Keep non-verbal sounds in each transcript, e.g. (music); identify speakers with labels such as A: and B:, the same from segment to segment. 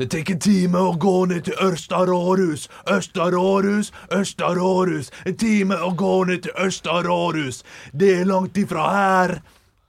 A: Det tek en time å gå ned til Ørstarårhus, Østarårhus, Østarårhus. En time å gå ned til Østarårhus. Det er langt ifra her.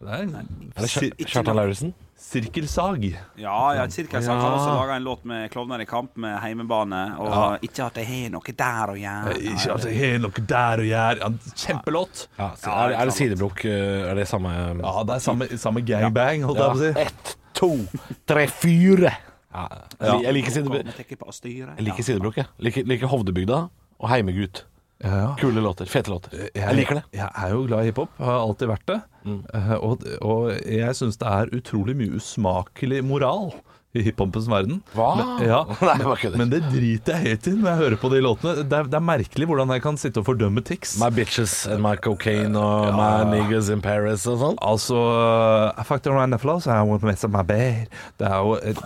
B: Det er
C: Er det Kjar-
D: Ikke
C: Kjartan Lauritzen?
A: Sirkelsag.
D: Ja, ja Kirkas
C: Ja.
D: har også laga en låt med 'Klovner i kamp' med heimebane. Og ikke at jeg har noe der å gjøre.
A: Ikke at Altså, jeg har noe der å gjøre. Ja, Kjempelåt.
C: Ja, så er, er det sidebruk? eh, Er det samme
A: Ja, det er samme, samme gangbang, holdt jeg på å si.
C: Ett, to, tre, fire. Ja,
A: Ja.
C: jeg liker sidebruk.
D: Kommer tenker på å styre.
C: Jeg liker
D: Ja.
C: sidebruk, jeg. Liker, liker Hovdebygda og Heimegut.
A: Ja, ja.
C: Kule låter. Fete låter. Jeg liker det. Mm.
A: Jeg er jo glad i hiphop, har alltid vært det. Eh, Og, og jeg syns det er utrolig mye usmakelig moral i hiphopens verden.
C: Hva?
A: Men, ja,
C: (laughs) Nei, jeg bare kødder.
A: men det driter jeg helt i når jeg hører på de låtene. Det er, det er merkelig hvordan jeg kan sitte og fordømme Tix.
C: My bitches and my cocaine og my niggas in Paris og sånn.
A: Altså I fucked around the floor, so I won't mess up my bed. Det er jo et,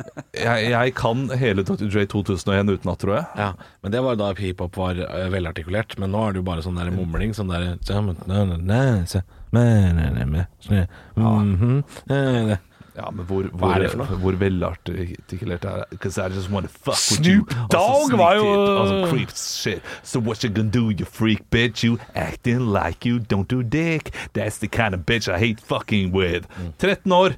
A: (laughs) jeg, jeg kan hele Dr. Dre 2001 utenat, tror jeg.
C: Ja, men det var jo da hiphop var eh, velartikulert, men nå er det jo bare sånn der mumling, sånn der mhm,
A: Ja, men hvor, hvor,
C: Hva er det for noe?
A: hvor velartikulert er det? Because I just wanna fuck
C: Snoop
A: with you.
C: Dogg
A: sneak
C: var jo-
A: it, Altså creep shit. So what you gonna do, you freak bitch? You acting like you don't do dick. That's the kind of bitch I hate fucking with. 13 år,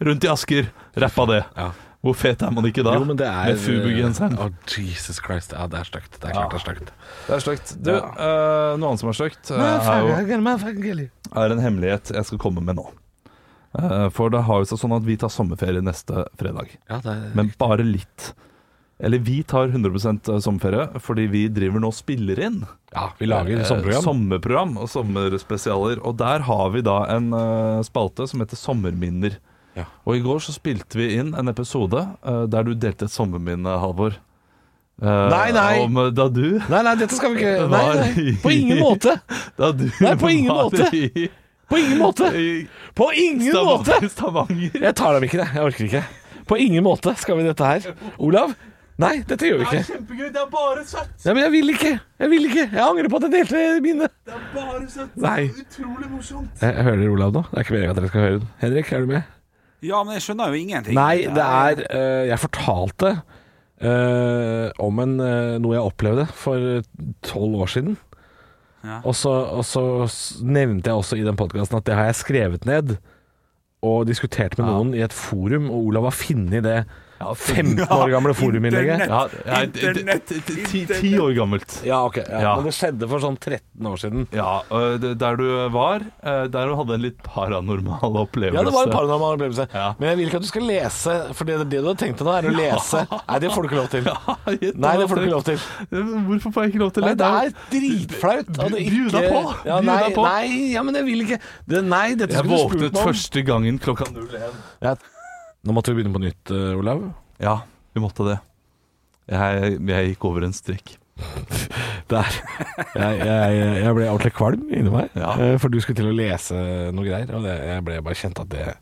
A: rundt i Asker, rappa det.
C: Ja.
A: Hvor fet er man ikke da?
C: Jo, men det er
A: Med Fubu-genseren.
C: Å, Jesus Christ. Ja, det er stygt. Det er klart det er stygt.
A: Det er stygt. Du, eh, noe annet som er stygt, eh, er, jo- er en hemmelighet jeg skal komme med nå. Eh, for det har jo seg sånn at vi tar sommerferie neste fredag.
C: Ja, det er
A: men bare litt. Eller vi tar 100 sommerferie, fordi vi driver nå og spiller inn
C: ja, vi lager
A: eh,
C: sommerprogram.
A: sommerprogram og sommerspesialer. Og der har vi da en eh, spalte som heter Sommerminner.
C: Ja.
A: Og i går så spilte vi inn en episode eh, der du delte et sommerminne, Halvor. Eh,
C: Nei, nei.
A: Om eh, da du
C: Nei, nei, dette skal vi ikke Nei, nei.
A: Var-
C: På ingen måte!
A: Da du
C: Nei, på ingen
A: var
C: måte.
A: i-
C: På ingen måte!
A: i
C: På ingen måte!
A: Stavanger- Stavanger.
C: Jeg tar dem ikke, det. Jeg orker ikke. På ingen måte skal vi dette her. Olav? Nei, dette gjør vi ikke.
A: Kjempegøy. Det er bare søtt.
C: Nei, men jeg vil ikke. Jeg vil ikke. Jeg angrer på at jeg delte mine.
A: Det er bare søtt.
C: Nei.
A: Utrolig morsomt.
C: Jeg jeg hører Olav nå. Det er ikke meningen at dere skal høre den. Henrik, er du med?
D: ja, men jeg skjønner jo ingenting.
C: Nei, det er eh, Jeg fortalte eh, om en, eh, noe jeg opplevde for tolv år siden.
D: Ja.
C: Og, så, og så s- nevnte jeg også i den podkasten at det har jeg skrevet ned og diskutert med noen i et forum, og Olav har funnet det 15 år gamle foruminnlegget.
A: Ja, ja, d- d-
D: Internett,
A: d- d- ti, ti år gammelt.
C: Ja, ok. Ja.
A: Ja.
C: Men det skjedde for sånn 13 år siden.
A: Ja, ø, d- Der du var, ø, der du hadde en litt paranormal opplevelse.
C: Ja, det var en
A: (laughs)
C: paranormal opplevelse.
A: Ja.
C: Men jeg vil ikke at du skal lese, for det, det du har tenkt deg nå, er (laughs) å lese. Nei, det får du ikke lov til.
A: gitt,
C: Nei, det får du ikke lov til.
A: Hvorfor får jeg ikke lov til
C: Nei,
A: det?
C: det er dritflaut. at du
A: Bru-
C: ikke-
A: bjuda på.
C: Ja,
A: Bjuda
C: nei,
A: på.
C: nei, ja, men jeg vil ikke det, Nei, dette
A: Jeg
C: skulle du spurt
A: våknet
C: meg om.
A: første gangen klokka 01.
C: Ja. Nå måtte vi begynne på nytt, eh, Olav.
A: Ja, vi måtte det. Jeg, jeg gikk over en strikk.
C: Der. Jeg, jeg, jeg ble ordentlig kvalm inni meg,
A: Ja.
C: eh, for du skulle til å lese noe greier, og det, jeg ble bare kjent at det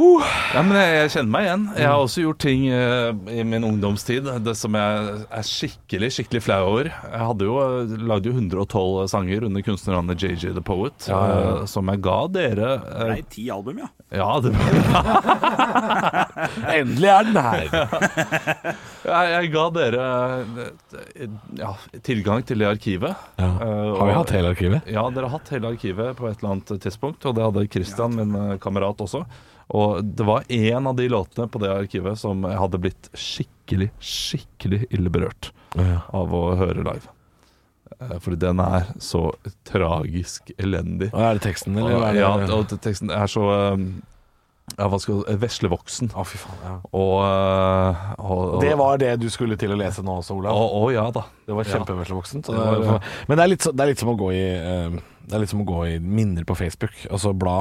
C: Huh.
A: Ja, men jeg, jeg kjenner meg igjen. Jeg
C: Mm.
A: har også gjort ting eh, i min ungdomstid det som jeg er skikkelig skikkelig flau over. Jeg hadde jo, eh, lagde jo 112 eh, sanger under kunstnernavnet JJ The Poet, eh, som jeg ga dere. eh,
D: Nei, ti album, ja.
A: ja, det var, (laughs)
C: Endelig er den her!
A: jeg, jeg ga dere eh, ja, tilgang til det arkivet.
C: Ja.
A: Eh,
C: Har vi
A: og-
C: hatt hele arkivet?
A: Ja, dere har hatt hele arkivet på et eller annet tidspunkt, og det hadde Christian, min eh, kamerat, også. Og det var én av de låtene på det arkivet som jeg hadde blitt skikkelig, skikkelig ille berørt
C: Ja.
A: av å høre live. Eh, Fordi den er så tragisk elendig.
C: Og Er det teksten, eller?
A: Og,
C: er det,
A: ja, og teksten er så eh, ja, hva skal eh, Veslevoksen.
C: Å, fy faen. Ja.
A: Og, eh, og, og
C: Det var det du skulle til å lese nå også, Olav.
A: Å å, ja da.
C: Det var
A: Ja.
C: kjempeveslevoksen.
A: Det var det.
C: Men det er, litt så, det er litt som å gå i eh, Det er litt som å gå i minner på Facebook, og så bla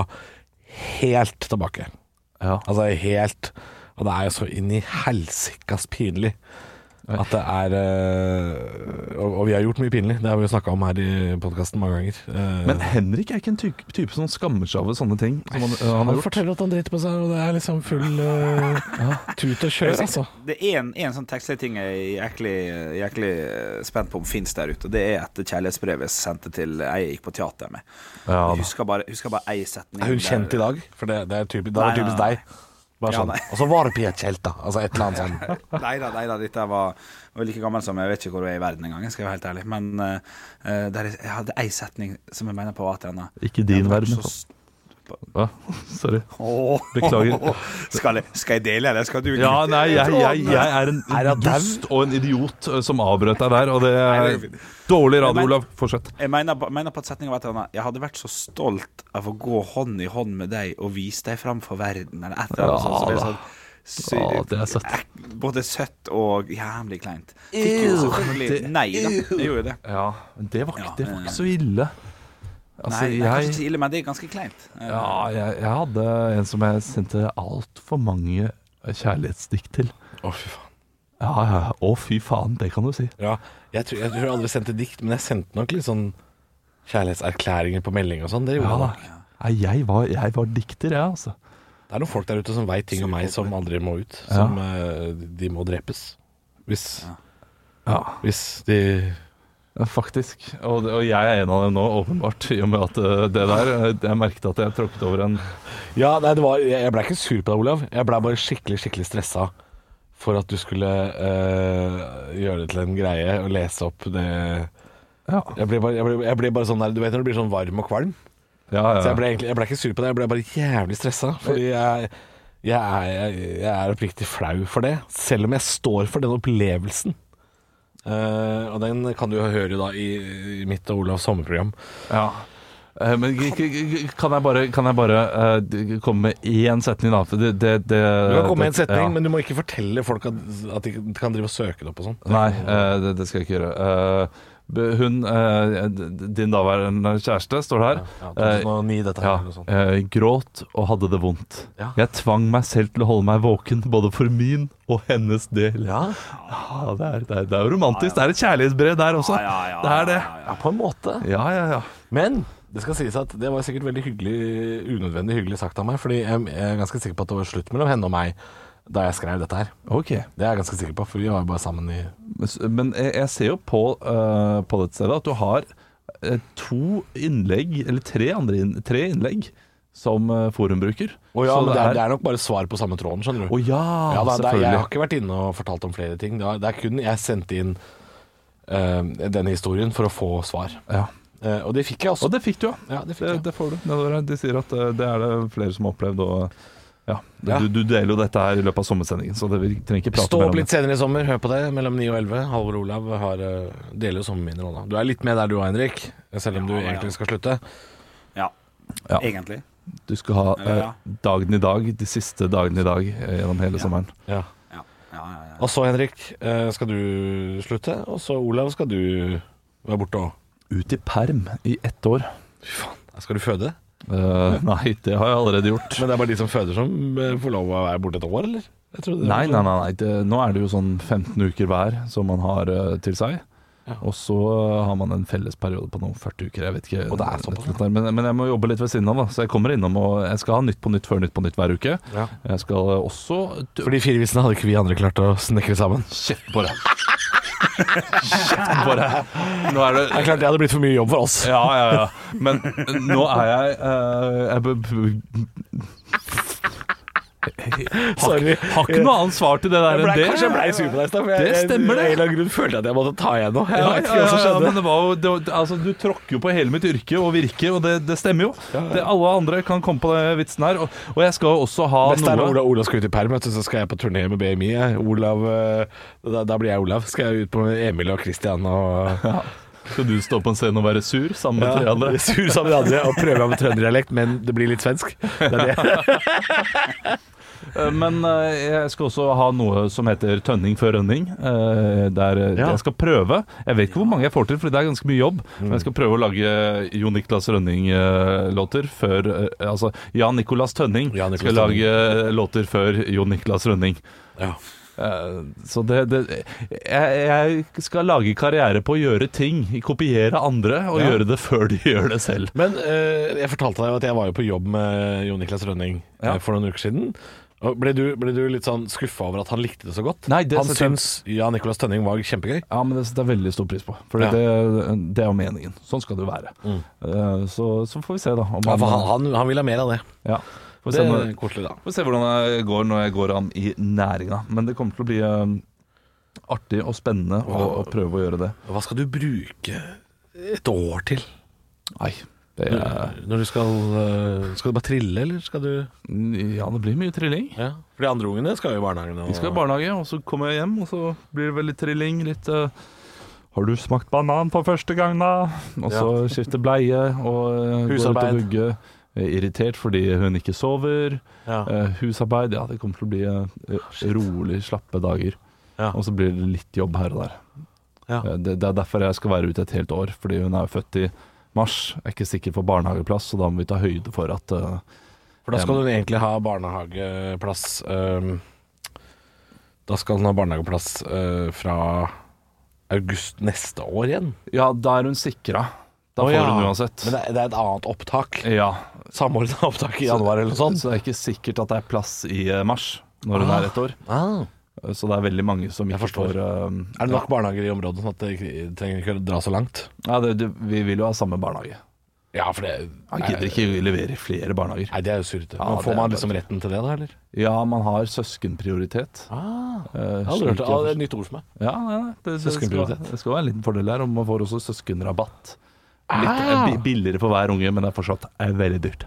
C: helt tilbake.
A: Ja.
C: Altså helt Og det er jo så inn i helsikas pinlig at det er eh, og, og vi har gjort mye pinlig, det har vi jo snakka om her i podkasten mange ganger. Eh,
A: Men Henrik er ikke en type, type som skammer seg over sånne ting. Som han, han har
C: han
A: gjort.
C: forteller at han driter på seg, og det er liksom full eh, tut og kjør, altså.
D: Det er en, en sånn tekstlig ting jeg er jæklig, jæklig eh, spent på om fins der ute. og Det er etter kjærlighetsbrevet jeg sendte til ei jeg gikk på teater med.
A: Ja, da.
D: Jeg husker bare, jeg husker bare ei setning.
C: Er hun
D: der-
C: kjent i dag? For det, det er typisk, det
D: Nei,
C: er typisk
D: nei,
C: deg. Bare
D: Ja,
C: sånn.
D: nei.
C: og så var det Pia Tjelta. Altså et eller annet
D: (laughs)
C: sånn.
D: Nei da, nei da, dette var jeg var like gammel som Jeg vet ikke hvor jeg er i verden engang, jeg skal være helt ærlig. Men eh, eh, der, er- jeg hadde ei setning som jeg mener på var til henne.
A: Ikke din
D: Jeg var
A: verden.
D: så s-
A: Hva? (laughs) Sorry.
D: Åh.
A: Beklager.
D: (laughs) Skal jeg, skal jeg dele, eller skal du
A: Ja, nei, jeg, jeg, jeg er en
C: Er jeg
A: dust og en idiot eh, som avbrøt deg der, og det
D: Nei,
A: er
D: det er fint.
A: dårlig
D: Men-
A: radio, Olav. Fortsett.
D: Jeg mener, på- mener på at setningen var til henne Jeg hadde vært så stolt av å gå hånd i hånd med deg og vise deg fram for verden, eller et eller annet sånt. Så det er sånn sy-
A: Ja, det er søtt.
D: ek- Både søtt og jævlig kleint. Fikk jo selvfølgelig nei, da. Jeg gjorde jo det.
A: Ja, men det var, ikke-
D: Ja,
A: det var
D: eh.
A: ikke så ille. Altså,
D: nei, det er kanskje
A: jeg
D: ikke ille, men det er ganske kleint. Eh,
A: Ja, jeg, jeg hadde en som jeg sendte altfor mange kjærlighetsdikt til.
C: Å, fy faen.
A: Ja, ja. Å, fy faen, det kan du si.
C: Ja, jeg tror, jeg tror jeg aldri sendte dikt, men jeg sendte nok litt sånn kjærlighetserklæringer på melding og sånn. Det gjorde
A: Ja
C: jeg
A: da.
C: nok.
A: Nei, jeg var, jeg var dikter, jeg, altså.
C: Det er noen folk der ute som veit ting om meg som aldri må ut. Som eh, de må drepes. Hvis,
A: Ja,
C: hvis de
A: faktisk. Og, det- og jeg er en av dem nå, åpenbart, i og med at eh, det der eh, Jeg merket at jeg tråkket over en
C: Ja, nei, det var Jeg, jeg blei ikke sur på deg, Olav. Jeg blei bare skikkelig, skikkelig stressa for at du skulle eh, gjøre det til en greie og lese opp det
A: Ja,
C: Jeg ble bare, jeg ble, jeg ble bare sånn der Du vet når du blir sånn varm og kvalm?
A: ja.
C: Så jeg
A: ja.
C: ble, egentlig, jeg ble ikke sur på deg, jeg ble bare jævlig stressa. Fordi jeg, jeg, er, jeg, jeg er oppriktig flau for det. Selv om jeg står for den opplevelsen. Eh, og den kan du jo høre da i, i mitt og Olavs sommerprogram.
A: ja. Eh, Men g- g- g- kan jeg bare, kan jeg bare eh, d- komme med én setning, da? For Det, det, det,
C: Du kan komme med en
A: Eh, det-
C: setning,
A: ja.
C: men du må ikke fortelle folk at, at de kan drive og søke det opp og sånn.
A: Nei, eh, det, det skal jeg ikke gjøre. Eh, b- hun, eh, d- din daværende kjæreste, står det her.
C: Ja, 2009, dette her.
A: Ja,
C: eller sånn. noe sånt.
A: eh, gråt og hadde det vondt.
C: Ja.
A: Jeg tvang meg selv til å holde meg våken, både for min og hennes del.
C: Ja.
A: Ah, det, er, det, er, det er jo romantisk. Det er et kjærlighetsbrev der også.
D: Ja, ja, ja,
A: det er det.
D: ja, ja, ja.
C: ja, på en måte.
A: Ja, ja, ja.
C: Men det skal sies at det var sikkert veldig hyggelig, unødvendig hyggelig sagt av meg. Fordi jeg jeg er ganske sikker på at det var slutt mellom henne og meg da jeg skrev dette her.
A: Ok.
C: Det er jeg ganske sikker på, for vi var jo bare sammen i
A: Men s- Men jeg, jeg ser jo på, eh, på dette stedet at du har eh, to innlegg, eller tre, andre inn, tre innlegg, som eh, forum bruker.
C: Å ja,
A: Så
C: men det er, det er nok bare svar på samme tråden, skjønner du.
A: Å ja,
C: ja, da, det er, jeg
A: selvfølgelig.
C: har ikke vært inne og fortalt om flere ting. Det er, det er kun jeg sendte inn eh, denne historien for å få svar.
A: Ja.
C: Eh, og det fikk jeg også.
A: Og det fikk du, ja.
C: ja, det fikk
A: Det,
C: jeg.
A: det får du. nedover her. De sier at eh, det er det flere som har opplevd. Og, ja.
C: Ja.
A: Du, du deler jo dette her i løpet av sommersendingen, så det, vi trenger ikke prate
C: Stå
A: mer
C: opp
A: om
C: litt senere i sommer, hør på det, mellom 9 og 11. Halvor Olav har, eh, deler jo sommerminner nå, da. Du er litt med der du, Henrik, selv om du
D: Ja, ja.
C: egentlig skal slutte.
D: Ja,
A: Ja.
D: egentlig.
A: det. Du skal ha eh,
D: Ja.
A: dagen i dag, de siste dagene i dag eh, gjennom hele sommeren.
C: Ja.
D: Ja, ja, ja, ja.
C: Og så, Henrik, eh, skal du slutte, og så, Olav, skal du være borte òg.
A: Ut i perm i ett år.
C: Fy faen, skal du føde?
A: Eh, (laughs) nei, det har jeg allerede gjort.
C: Men det er bare de som føder som eh, får lov å være borte et år, eller? Jeg trodde det var
A: Nei,
C: sånn.
A: nei, nei. nei. Det, nå er det jo sånn 15 uker hver som man har eh, til seg.
C: Ja.
A: Og så eh, har man en felles periode på noen 40 uker. Jeg vet ikke
C: Og det er såpass,
A: litt der, men, men jeg må jobbe litt ved siden av, da. Så jeg kommer innom og jeg skal ha Nytt på nytt før Nytt på nytt hver uke.
C: Ja.
A: Jeg skal
C: (laughs)
A: også d-
C: For de fire visene hadde ikke vi andre klart å snekre sammen.
A: Kjeft på deg! Kjeft på deg! Nå er
C: Det
A: det
C: er klart det hadde blitt for mye jobb for oss. (laughs)
A: Ja, ja, ja. Men nå er jeg, eh, jeg b- b-
C: Sorry.
A: Har ikke noe annet svar til det der
C: Jeg ble,
A: enn det.
C: kanskje jeg ble sur på deg i stad, for jeg,
A: Det stemmer det.
C: jeg, jeg, jeg, grunn følte jeg at jeg måtte ta igjen nå. Jeg
A: Ja,
C: vet
A: ja,
C: ikke hva som
A: ja, ja,
C: skjedde.
A: men det var jo, det, var- altså, du tråkker jo på hele mitt yrke og virke, og det, det stemmer jo. Det, alle andre kan komme på den vitsen her. Og, og jeg skal jo også ha
C: Best er når
A: noe
C: Olav, Olav skal ut i perm, vet du, så skal jeg på turné med BMI. jeg. Olav, eh, da, da blir jeg Olav. Skal jeg ut på Emil og Christian og
A: Skal du stå på en scene og være sur sammen med tre
C: ja, (laughs)
A: andre?
C: sur sammen med de andre og prøve meg med trønderdialekt, men det blir litt svensk. Det er det.
A: Eh, Men eh, jeg skal også ha noe som heter tønning før rønning. eh, Der eh,
C: Ja.
A: jeg skal prøve. Jeg vet ikke hvor mange jeg får til, Fordi det er ganske mye jobb. Men
C: Mm.
A: jeg skal prøve å lage Jo Niklas Rønning-låter før eh, Altså Jan Nicolas Tønning
C: Jan Nicolas
A: skal lage eh, låter før Jo Niklas Rønning.
C: Ja.
A: Eh, Så det, det jeg, jeg skal lage karriere på å gjøre ting. Kopiere andre og
C: Ja.
A: gjøre det før de (laughs) gjør det selv.
C: Men eh, jeg fortalte deg jo at jeg var jo på jobb med Jon Niklas Rønning
A: Ja.
C: eh, for noen uker siden. Og ble, du, ble du litt sånn skuffa over at han likte det så godt?
A: Nei, det
C: han
A: synes jeg-
C: syns Jan Nicolas Tønning var kjempegøy.
A: Ja, men det setter jeg veldig stor pris på. For
C: Ja.
A: det, det er jo meningen. Sånn skal det jo være.
C: Mm.
A: Eh, Så, så får vi se, da. Om
C: Ja, for
A: han-
C: han, han, han vil ha mer av det.
A: ja. Får
C: Det
A: se,
C: er
A: når,
C: koselig, da.
A: får se hvordan det går når jeg går an i næringa. Men det kommer til å bli eh, artig og spennende å, å prøve å gjøre det.
C: Hva skal du bruke et år til?
A: Nei, det er,
C: Når du skal øh, Skal du bare trille, eller skal du
A: ja, det blir mye trilling.
C: ja. For de andre ungene skal jo i barnehagen. Og...
A: Vi skal i barnehage, og så kommer jeg hjem, og så blir det vel litt trilling. Litt eh, 'Har du smakt banan for første gang, da?' Og så skifte bleie og uh, går ut og
C: Husarbeid.
A: vugge. Eh, Irritert fordi hun ikke sover.
C: Ja.
A: Eh, husarbeid, ja, det kommer til å bli eh, rolig, slappe dager.
C: Ah, Ja.
A: Og så blir det litt jobb her og der.
C: Ja.
A: Eh, Det, det er derfor jeg skal være ute et helt år, fordi hun er jo født i mars. Jeg er ikke sikker på barnehageplass, så da må vi ta høyde for at eh,
C: For da skal hun egentlig ha barnehageplass øhm, Da skal hun ha barnehageplass øh, fra august neste år igjen.
A: Ja, da er hun sikra. Da
C: Å,
A: får
C: ja.
A: hun uansett.
C: Men det er, det er et annet opptak.
A: ja.
C: Samordna opptak i januar eller noe
A: (laughs)
C: sånt.
A: Så det er ikke sikkert at det er plass i eh, mars når hun
C: Ah.
A: er ett år.
C: Ah.
A: Eh, Så det er veldig mange som
C: Jeg
A: ikke
C: forstår.
A: får eh,
C: Er det nok barnehager i området sånn at det ikke- trenger ikke å dra så langt?
A: Ja, det, det, vi vil jo ha samme barnehage.
C: Ja, for det
A: Han gidder ikke levere i flere barnehager.
C: Nei, det er jo surrete.
A: Ja,
C: Men
A: det
C: får
A: er
C: man
A: bare-
C: liksom retten til det, da, eller?
A: Ja, man har søskenprioritet.
C: Ah,
A: eh,
C: jeg har aldri
A: slik
C: hørt det. Ah, det
A: jeg
C: er et nytt ord for meg.
A: Ja, nei, nei, det, det, skal,
C: Søskenprioritet.
A: det skal være en liten fordel her, og man får også søskenrabatt. Litt
C: Ah.
A: eh, bi- billigere for hver unge, men det er fortsatt eh, veldig dyrt.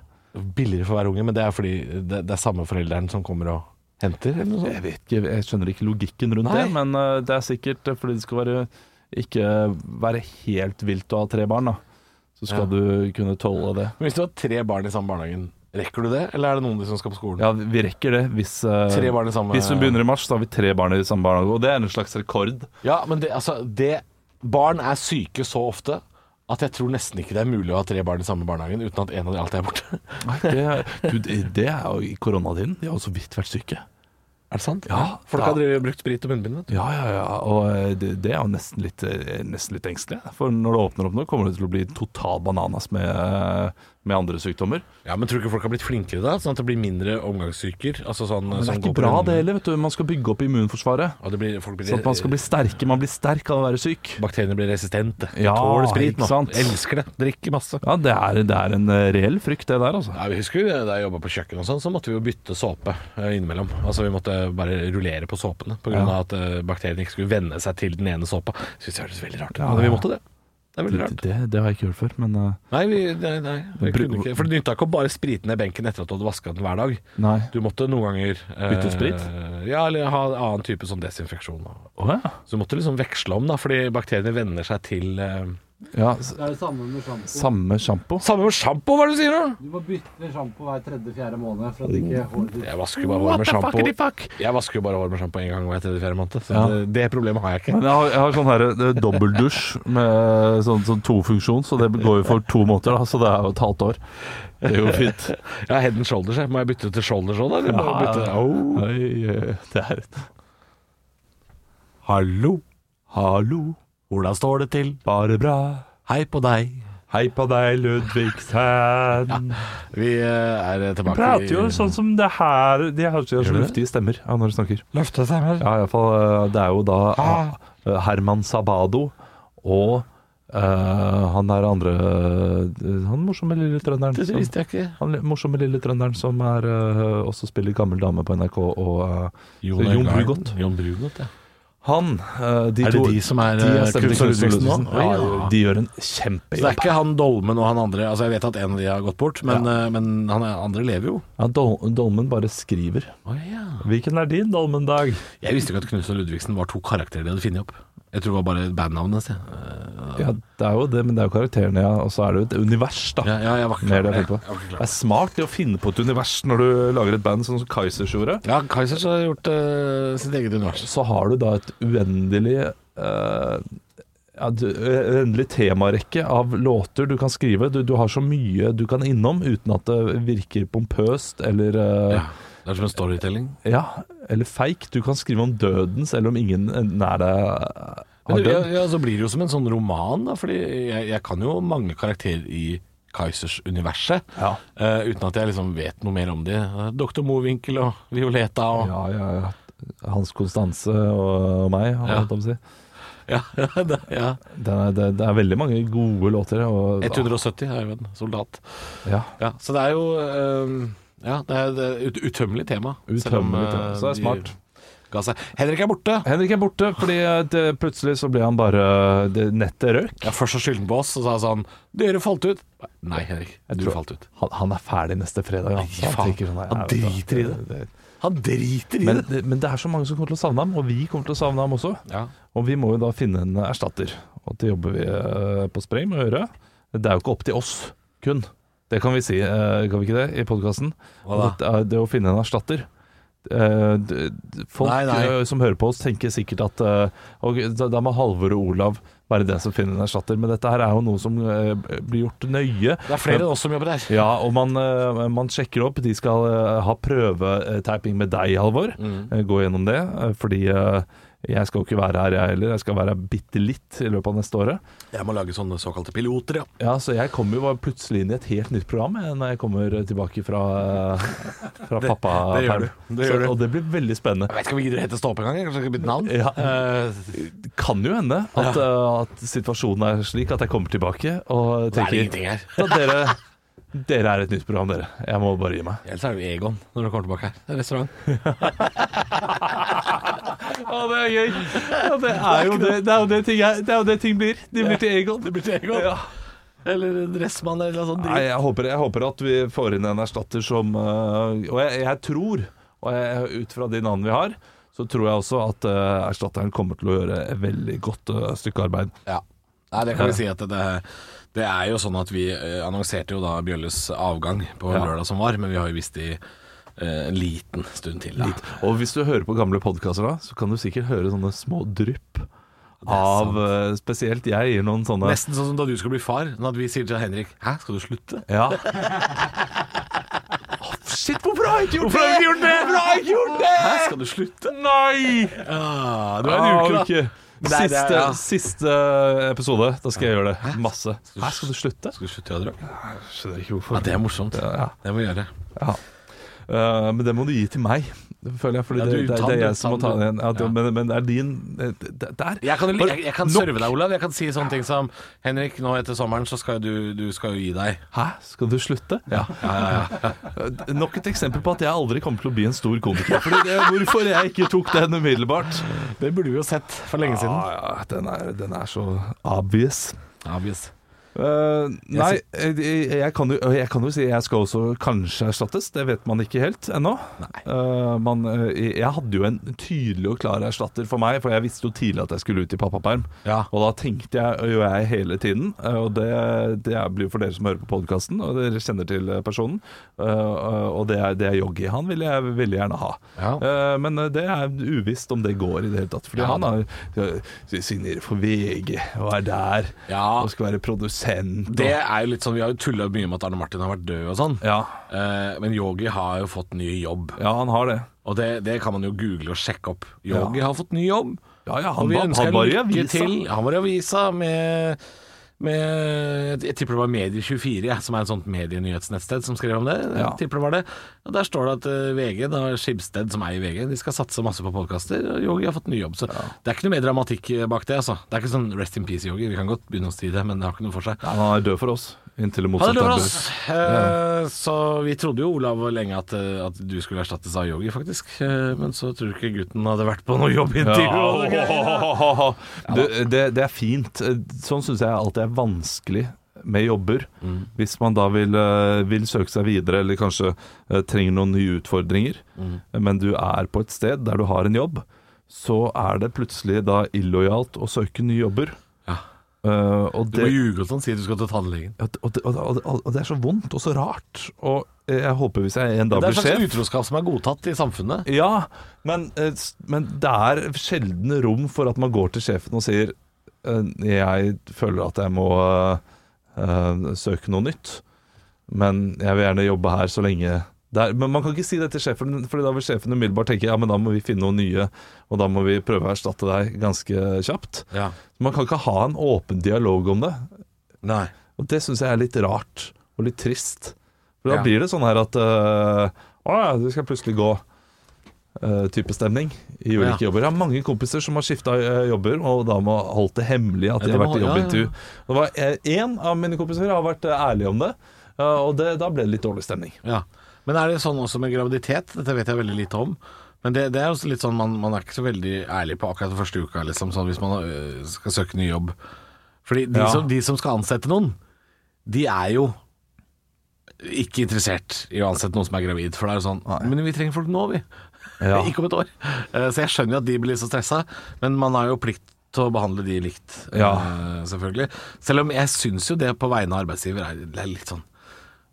C: Billigere for hver unge, men det er fordi det, det er samme forelderen som kommer og henter, eller noe sånt?
A: Jeg vet ikke, jeg skjønner ikke logikken rundt
C: Nei.
A: det, men eh, det er sikkert eh, fordi det skal være ikke være helt vilt å ha tre barn, da. Så skal
C: Ja.
A: du kunne tåle det.
C: Men hvis du har tre barn i samme barnehagen, rekker du det, eller er det noen av de som skal på skolen?
A: Ja, vi- vi rekker det hvis eh,
C: Tre barn i samme
A: Hvis hun begynner i mars, så har vi tre barn i samme barnehage, og det er en slags rekord.
C: Ja, men det, altså det Barn er syke så ofte at jeg tror nesten ikke det er mulig å ha tre barn i samme barnehagen uten at en av de alltid er borte.
A: Det, du, det- det er jo i koronatiden. De har jo så vidt vært syke.
C: Er det sant?
A: Ja,
C: Folk
A: da-
C: har drevet- brukt sprit og munnbind, vet du.
A: Ja, ja, ja. Og eh, det, det er jo nesten litt, eh, nesten litt engstelig. For når det åpner opp nå, kommer det til å bli total bananas med, eh, med andre sykdommer.
C: Ja, men tror du ikke folk har blitt flinkere da? Sånn at det blir mindre omgangssyker? Altså sånn,
A: Men det
C: som
A: er
C: går
A: ikke
C: på
A: bra
C: runden.
A: det heller. vet du Man skal bygge opp immunforsvaret.
C: Og det blir, folk blir,
A: Sånn at man skal bli sterke. Man blir sterk av å være syk.
C: Bakteriene blir resistente.
A: Ja,
C: Tåler sprit
A: ikke
C: nå.
A: sant?
C: Elsker det. Drikker masse.
A: Ja, det er, det er en eh, reell frykt, det der, altså.
C: Ja, vi husker jo da jeg jobba på kjøkken, og sånn, så måtte vi jo bytte såpe eh, innimellom. Altså Vi måtte bare rullere på såpene pga. grunn
A: Ja.
C: av at eh, bakteriene ikke skulle venne seg til den ene såpa. Syns jeg høres veldig rart ut.
A: Ja,
C: Men vi
A: ja.
C: måtte det. Det er veldig
A: Det,
C: rart.
A: det, det har jeg ikke hørt før, men eh,
C: Nei, vi, nei, nei vi
A: Bru-
C: kunne ikke. For det nytta ikke å bare sprite ned benken etter at du hadde vaska den hver dag.
A: nei.
C: Du måtte noen ganger eh,
A: Bytte sprit?
C: Ja, eller ha en annen type sånn desinfeksjon. og-
A: Å ja.
C: Så du måtte liksom veksle om, da, fordi bakteriene venner seg til eh,
A: ja. s-
B: Det er det samme med sjampo.
A: Samme sjampo.
C: Samme med sjampo, hva er det du sier nå?
B: Du må bytte sjampo hver tredje-fjerde måned for at ikke håret ditt
C: Jeg vasker jo bare håret med sjampo. Jeg vasker jo bare håret med sjampo en gang hver tredje-fjerde måned, så
A: Ja.
C: det, det problemet har jeg ikke.
A: Men jeg har, jeg har sånn her eh, dobbeltdusj med sånn, sånn tofunksjon, så det går jo for to måneder, da, så det er jo et halvt år. Det går jo fint.
C: Jeg har head and shoulders, jeg. Må jeg bytte til shoulders òg, da? Eller må jeg bytte Au.
A: Oi, eh, det er Hallo, hallo,
C: Hvordan står det til?
A: bare bra.
C: Hei på deg.
A: Hei på deg, Ludvigsen.
C: Vi eh, er tilbake
A: Prater jo sånn som det her De har så
C: du det?
A: luftige stemmer ja, når de snakker.
C: Løfte seg mer.
A: Ja, i hvert fall, eh, det er jo da eh, Herman Sabado og eh, han der andre eh, Han morsomme lille trønderen.
C: Det
A: som-
C: visste jeg ikke.
A: Han li- morsomme lille trønderen som er, eh, også spiller gammel dame på NRK, og eh,
C: Jon,
A: Jon
C: Øygarden.
A: Brugott.
C: Jon Brugott, ja.
A: han eh, de
C: Er det
A: to,
C: de som er, eh,
A: stemt i
C: Knut Sølve
A: Knut Sølve
C: Ludvigsen nå?
A: Ja,
C: Å, ja.
A: de gjør en
C: Så det er
A: kjempejobb.
C: ikke han Dolmen og han andre Altså Jeg vet at en av de har gått bort, men, eh, men han andre lever jo.
A: Ja, Dol Dolmen bare skriver. Hvilken er din Dolmen-dag?
C: Jeg visste ikke at Knutsen og Ludvigsen var to karakterer de hadde funnet opp. Jeg tror det var bare bandnavnet hans. jeg. Eh,
A: Ja, det er jo det, men det er jo karakterene, ja. Og så er det jo et univers, da.
C: Ja, ja, jeg var ikke
A: Mer
C: klar
A: det
C: over
A: jeg
C: det.
A: tenkte
C: Jeg
A: på.
C: var ikke
A: Det
C: klar.
A: er smart det å finne på et univers når du lager et band sånn som Kaizers gjorde.
C: Ja, Kaizers har gjort eh, sitt eget univers.
A: Så har du da et uendelig eh, ja, du, uendelig temarekke av låter du kan skrive. Du, du har så mye du kan innom uten at det virker pompøst eller eh,
C: Ja. Det er som en storytelling.
A: Ja, eller feik. Du kan skrive om døden selv om ingen nær deg
C: Men
A: har
C: du, ja,
A: dødd.
C: ja, så blir det jo som en sånn roman, da, fordi jeg, jeg kan jo mange karakterer i Kaizers-universet,
A: Ja.
C: eh, uten at jeg liksom vet noe mer om de. Eh, Dr. Mowinckel og Violeta og
A: Ja,
C: ja.
A: ja, ja. Hans Konstanse og meg, har jeg holdt på å si.
C: (laughs) Ja, det, ja.
A: Det er, det, det er veldig mange gode låter. Og,
C: 170 er jo en soldat.
A: Ja.
C: Ja, så det er jo eh, Ja, det er det er ut, utømmelig tema. selv om,
A: Utømmelig tema,
C: eh,
A: så det er smart.
C: de Ga seg. Henrik er borte!
A: Henrik er borte, fordi eh, det, plutselig så ble han bare eh, det, Nettet røk.
C: Ja, først så skyldte han på oss og sa sånn 'Dere falt ut'. Nei, Henrik. Du
A: tror-
C: falt ut.
A: Han, han er ferdig neste fredag. Han,
C: Nei,
A: han,
C: faen.
A: tenker sånn, nei,
C: Han
A: jeg vet da,
C: driter i det. Han driter i
A: Men,
C: det.
A: det- men det er så mange som kommer til å savne ham, og vi kommer til å savne ham også.
C: Ja.
A: Og vi må jo da finne en erstatter. Og det jobber vi eh, på spreng med å gjøre. Det er jo ikke opp til oss kun. Det kan vi si, eh, kan vi ikke det, i podkasten?
C: Hva
A: Det, er- det å finne en erstatter. Eh, d- d- Folk
C: Nei, nei.
A: eh, som hører på oss, tenker sikkert at eh, ok, da, da må Halvor og Olav være den som finner en erstatter. Men dette her er jo noe som eh, blir gjort nøye.
C: Det er flere enn oss som jobber der.
A: Ja, og man, eh, man sjekker opp. De skal eh, ha prøvetyping med deg, Halvor.
C: Mm.
A: Eh, Gå gjennom det. eh, Fordi eh, jeg skal jo ikke være her, jeg heller. Jeg skal være her bitte litt i løpet av neste året.
C: Jeg må lage sånne såkalte piloter, ja.
A: Ja, Så jeg kommer jo bare plutselig inn i et helt nytt program jeg, når jeg kommer tilbake fra, eh, fra pappa.
C: (laughs) det gjør du. Det gjør du.
A: Og det blir veldig spennende.
C: Jeg vet ikke om vi gidder å hete Stå opp engang. jeg. Kanskje jeg skal bytte navn.
A: Ja.
C: Eh,
A: Det kan jo hende at, eh, at situasjonen er slik at jeg kommer tilbake og
C: da er det
A: tenker
C: ingenting her.
A: at dere, dere er et nytt program, dere. Jeg må bare gi meg.
C: Ellers er det jo Egon når du kommer tilbake her. Det er Restaurant.
A: Å, det er gøy. Ja, det, er jo det, det er jo det ting, er, det er jo det ting blir. De blir til Egon.
C: (laughs) Det blir til Egon.
A: Ja.
C: Eller Dressmann eller noe sånt.
A: Nei,
C: dritt.
A: jeg håper, jeg håper at vi får inn en erstatter som øh, Og jeg, jeg tror, og jeg, ut fra de navnene vi har, så tror jeg også at øh, erstatteren kommer til å gjøre et veldig godt øh, stykke arbeid.
C: Ja. Nei, det kan vi si at det, det er jo sånn at vi eh, annonserte jo da Bjølles avgang på
A: Ja.
C: lørdag som var, men vi har jo visst i eh, en liten stund til. Da.
A: Og hvis du hører på gamle podkaster da, så kan du sikkert høre sånne små drypp av øh, Spesielt jeg gir noen sånne
C: Nesten sånn som da du skal bli far, sånn at vi sier til Henrik Hæ, skal du slutte?
A: (laughs) Ja. Å, Shit, hvorfor har jeg ikke gjort det? Hvorfor har jeg ikke gjort det? Hvorfor har jeg ikke gjort det?
C: Hæ, skal du slutte?
A: Nei!
C: Ah, du har
A: Ah,
C: en uke, da.
A: ok.
C: Nei, det
A: Siste,
C: er- ja.
A: siste episode. Da skal jeg gjøre det. Masse. Hæ, skal du slutte?
C: Skal du slutte å dra?
A: Skjønner ikke hvorfor.
C: Ja, det er morsomt.
A: Ja.
C: Det må vi gjøre.
A: Ja. Eh, men det må du gi til meg, føler jeg. Fordi
C: Ja,
A: det,
C: du,
A: det,
C: ta
A: det
C: den,
A: er jeg
C: ta
A: som må
C: den,
A: ta
C: du.
A: den. Ja, det-
C: Ja.
A: men, men det er din det- det- Der.
C: Jeg kan,
A: Bare-
C: jeg, jeg kan
A: Nok.
C: serve deg, Olav. Jeg kan si sånne ting som Henrik, nå etter sommeren så skal jo du, du skal jo gi deg.
A: Hæ, skal du slutte? Ja. Eh, Nok et eksempel på at jeg aldri kommer til å bli en stor komiker. Fordi det, hvorfor jeg ikke tok den umiddelbart?
C: Det burde vi jo sett for lenge
A: Ja, ja, den er, den er så obvious.
C: Obvious.
A: Eh, nei, jeg, jeg, kan jo, eh, jeg kan jo si jeg skal også kanskje erstattes. Det vet man ikke helt ennå. Eh, man, eh, jeg hadde jo en tydelig og klar erstatter for meg, for jeg visste jo tidlig at jeg skulle ut i pappaperm.
C: Ja.
A: Og da tenkte jeg jo jeg hele tiden, eh, og det, det er- blir jo for dere som hører på podkasten, og dere kjenner til eh, personen, eh, og det er, det er Yogi. Han ville jeg veldig gjerne ha.
C: Ja.
A: Eh, men eh, det er uvisst om det går i det hele tatt, fordi
C: Ja,
A: han har, signerer for VG og er der
C: Ja.
A: og skal være produsent. og-
C: Det er jo litt sånn, Vi har jo tulla mye med at Arne Martin har vært død og sånn.
A: Ja.
C: Eh, men Yogi har jo fått ny jobb,
A: ja, han har det.
C: og det, det kan man jo google og sjekke opp. Yogi har fått ny jobb,
A: Ja, ja,
C: og
A: han,
C: vi
A: var-
C: ønsker
A: han var i
C: lykke
A: avisa.
C: til. Han var i avisa med, med Jeg tipper det var Medie24, jeg, som er et sånt medienyhetsnettsted som skrev om det. Jeg
A: Ja.
C: tipper det var det. Og Der står det at eh, VG, da Skibsted som eier VG, de skal satse masse på podkaster, og Yogi har fått ny jobb. Så det er ikke noe mer dramatikk bak det, altså. Det er ikke sånn rest in peace, Yogi. Vi kan godt begynne å si det, men det har ikke noe for seg.
A: Nei, Han er død for oss, inntil det
C: Han er
A: motsatte
C: død,
A: er
C: ass.
A: bevist.
C: Eh, Så vi trodde jo, Olav, lenge at, eh, at du skulle erstattes av Yogi, faktisk. Eh, Men så tror du ikke gutten hadde vært på noe
A: Ja.
C: jobbintervju. og noe greier.
A: Det, det, det er fint. Sånn syns jeg alltid er vanskelig med jobber.
C: Mm.
A: Hvis man da vil, eh, vil søke seg videre, eller kanskje eh, trenger noen nye utfordringer,
C: Mm.
A: men du er på et sted der du har en jobb, så er det plutselig da illojalt å søke nye jobber.
C: Ja.
A: Eh, og
C: Du må ljuge og sånn, si at du skal til tannlegen.
A: Ja, og, det, og, det- og, det- og det er så vondt og så rart. Og eh, jeg håper hvis jeg en dag
C: Det er
A: blir
C: en slags
A: sjef
C: utroskap som er godtatt i samfunnet.
A: Ja, men, eh, s- men det er sjelden rom for at man går til sjefen og sier eh, Jeg føler at jeg må eh, eh, søke noe nytt, men jeg vil gjerne jobbe her så lenge det er- men man kan ikke si det til sjefen, Fordi da vil sjefen umiddelbart tenke Ja, men da må vi finne noen nye, og da må vi prøve å erstatte deg ganske kjapt. Man kan ikke ha en åpen dialog om det.
C: Nei.
A: Og det syns jeg er litt rart og litt trist. For da
C: Ja.
A: blir det sånn her at øh, Å ja, du skal plutselig gå. øh, type stemning i ulike
C: Ja.
A: jobber. Jeg har mange kompiser som har skifta jobber, og da må holdt det hemmelig at de har
C: Ja, det må-
A: vært i
C: ja, ja, ja.
A: jobbintervju. Og det eh, var Én av mine kompiser har vært øh, ærlig om det, øh, og det, da ble det litt dårlig stemning.
C: Ja. Men er det sånn også med graviditet? Dette vet jeg veldig lite om. Men det, det er også litt sånn man, man er ikke så veldig ærlig på akkurat den første uka, liksom, sånn hvis man øh, skal søke ny jobb. Fordi de,
A: Ja.
C: som, de som skal ansette noen, de er jo ikke interessert i å ansette noen som er gravid. For det er jo sånn Men vi trenger folk nå, vi.
A: Ja.
C: (laughs) ikke om et år. Eh, Så jeg skjønner jo at de blir så stressa, men man har jo plikt til å behandle de likt, eh,
A: Ja.
C: selvfølgelig. Selv om jeg syns jo det på vegne av arbeidsgiver er, det er litt sånn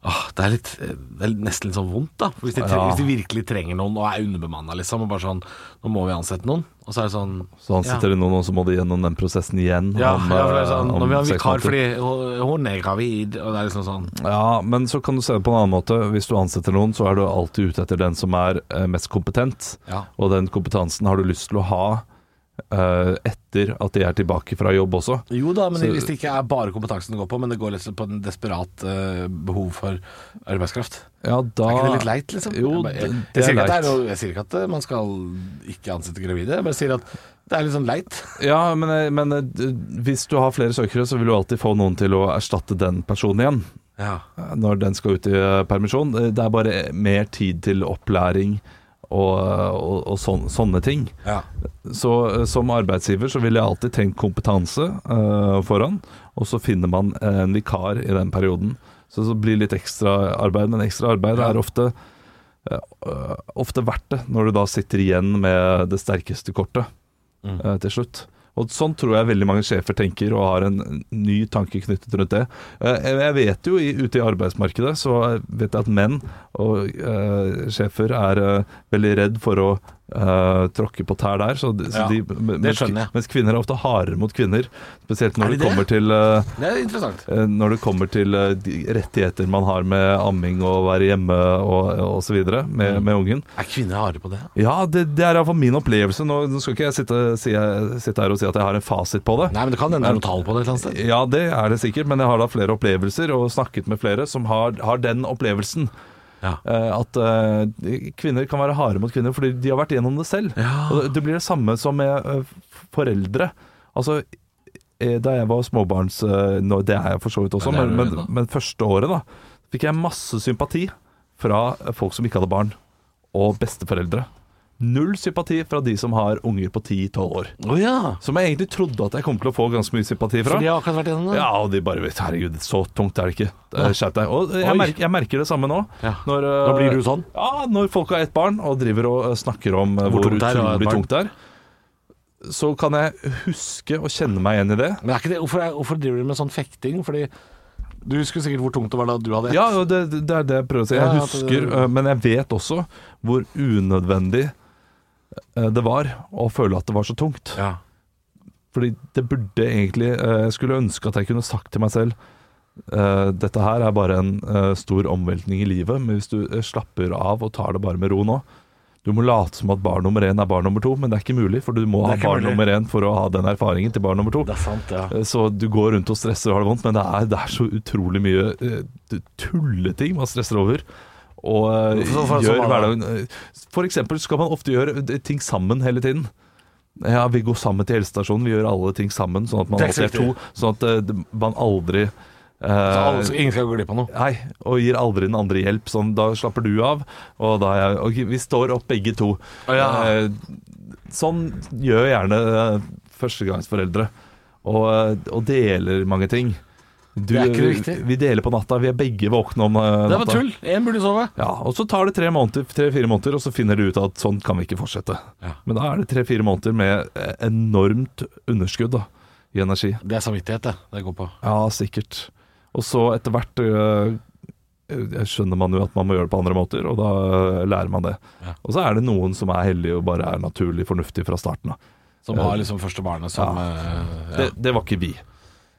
C: Åh, det, er litt, eh, det er nesten litt sånn vondt, da. Hvis de, tre-
A: Ja.
C: hvis de virkelig trenger noen og er underbemanna, liksom. Og bare sånn Nå må vi ansette noen. Og så er det sånn
A: Så ansetter de
C: ja.
A: noen, og så må de gjennom den prosessen igjen.
C: Ja,
A: om,
C: ja, for det er
A: eh,
C: sånn,
A: om
C: nå vil vi ha en
A: seks
C: vikar
A: måneder.
C: fordi hun- hun er gravid, og det er liksom sånn
A: Ja, men så kan du se det på en annen måte. Hvis du ansetter noen, så er du alltid ute etter den som er eh, mest kompetent.
C: Ja.
A: Og den kompetansen har du lyst til å ha eh, etter at de er tilbake fra jobb også.
C: Jo da, men
A: Så-
C: hvis det ikke er bare kompetansen det går på, men det går litt på en desperat eh, behov for arbeidskraft.
A: Ja, da
C: Er ikke det litt leit, liksom?
A: Ah, Jo,
C: jeg, bare, jeg,
A: det-
C: jeg,
A: det er
C: sier ikke at det
A: leit.
C: er noe, jeg sier ikke at eh, man skal ikke ansette gravide, jeg bare sier at det er litt sånn leit.
A: Ja, men, eh, men eh, d- hvis du har flere søkere, så vil du alltid få noen til å erstatte den personen igjen. eh, Når den skal ut i eh, permisjon. Eh, Det er bare eh, mer tid til opplæring og, eh, og, og sån, sånne ting.
C: Ja.
A: Så eh, som arbeidsgiver så ville jeg alltid tenkt kompetanse eh, foran, og så finner man eh, en vikar i den perioden. Så det blir litt ekstra arbeid, men ekstra arbeid
C: Ja.
A: er ofte eh, eh, ofte verdt det, når du da sitter igjen med det sterkeste kortet eh, til slutt. Og sånn tror jeg veldig mange sjefer tenker, og har en ny tanke knyttet rundt det. Eh, jeg- Jeg vet jo i, ute i arbeidsmarkedet, så vet jeg at menn og eh, sjefer er eh, veldig redd for å eh, tråkke på tær der. Så, de- så
C: Ja,
A: de, mens-
C: skjønner jeg.
A: Mens kvinner er ofte hardere mot kvinner. Spesielt når
C: Er de
A: det
C: det?
A: kommer til eh,
C: Det er interessant.
A: Eh, når det kommer til eh, de rettigheter man har med amming og være hjemme og osv.
C: Mm.
A: Med, med ungen.
C: Er kvinner harde på det?
A: Ja, det, det er iallfall min opplevelse. Nå, nå skal ikke jeg sitte, si, sitte her og si at jeg har en fasit på det.
C: Nei, men det kan hende det er noe tall på det et eller annet sted.
A: Ja, det er det sikkert, men jeg har da flere opplevelser og snakket med flere som har, har den opplevelsen.
C: Ja.
A: Eh, At eh, de- kvinner kan være harde mot kvinner fordi de har vært gjennom det selv. Og det- det blir det samme som med eh, f- foreldre. Altså, eh, da jeg var småbarns eh, nå, Det er jeg for så vidt også,
C: Ja, det er
A: men,
C: du
A: men,
C: ennå.
A: men første året da fikk jeg masse sympati fra eh, folk som ikke hadde barn, og besteforeldre. Null sympati fra de som har unger på 10-12 år.
C: Å ja.
A: Som jeg egentlig trodde at jeg kom til å få ganske mye sympati fra.
C: For de har akkurat vært gjennom det.
A: Ja, og de bare vet, Herregud, så tungt er det ikke. Eh, Skjerp deg. Og jeg,
C: Oi.
A: merker, jeg merker det samme nå.
C: Ja.
A: Når, eh,
C: Da blir du sånn?
A: Ja, når folk har ett barn og driver og eh, snakker om eh,
C: Hvor
A: hvor,
C: tungt det er å ha et
A: utrolig
C: barn.
A: tungt det er, så kan jeg huske og kjenne meg igjen i det.
C: Men er ikke det, hvorfor, er, hvorfor driver du med sånn fekting? Fordi du husker sikkert hvor tungt det var da du hadde ett.
A: Ja, og det, det er det jeg prøver å si.
C: Ja,
A: Jeg
C: ja, at
A: husker,
C: det-
A: eh, men jeg vet også hvor unødvendig eh, det var å føle at det var så tungt.
C: Ja.
A: Fordi det burde egentlig eh, Jeg skulle ønske at jeg kunne sagt til meg selv eh, Dette her er bare en eh, stor omveltning i livet Men hvis du eh, slapper av og tar det bare med ro nå Du må late som at barn nummer én er barn nummer to Men det er ikke mulig For du må
C: Det er
A: ha
C: ikke
A: barn
C: mulig.
A: nummer én for å ha den erfaringen til barn nummer to
C: Det er sant, ja.
A: Eh, Så du går rundt og stresser og har det vondt Men det er, det er så utrolig mye eh, tulleting man stresser over og eh,
C: Så- så- så-
A: gjør
C: hva da?
A: hverdagen eh, For eksempel skal man ofte gjøre eh, ting sammen hele tiden ja, vi går sammen til helsestasjonen. Vi gjør alle ting sammen, sånn at man
C: Det er ikke
A: alltid er
C: så
A: to. Sånn at eh, det- man aldri
C: Så
A: eh,
C: alle, skal- ingen skal gå glipp av noe.
A: Nei, og gir aldri den andre hjelp. Sånn, da slapper du av, og da er jeg Ok, vi står opp begge to.
C: Å, ja.
A: Eh, sånn gjør gjerne eh, førstegangsforeldre. Og, eh, og deler mange ting. Du-
C: Det er ikke det viktige.
A: Vi deler på natta. Vi er begge våkne om eh,
C: Det er
A: natta.
C: bare tull. Én burde sove.
A: Ja, og så tar det tre-fire måneder, tre, måneder, og så finner du ut at sånn kan vi ikke fortsette.
C: Ja.
A: Men da er det tre-fire måneder med eh, enormt underskudd da, i energi.
C: Det er samvittighet, det. Det går på.
A: Ja, sikkert. Og så etter hvert øh, øh, skjønner man jo at man må gjøre det på andre måter, og da øh, lærer man det.
C: Ja.
A: Og så er det noen som er heldige og bare er naturlig fornuftig fra starten av.
C: Som har liksom første barnet som eh, ja.
A: Det, det var ikke vi.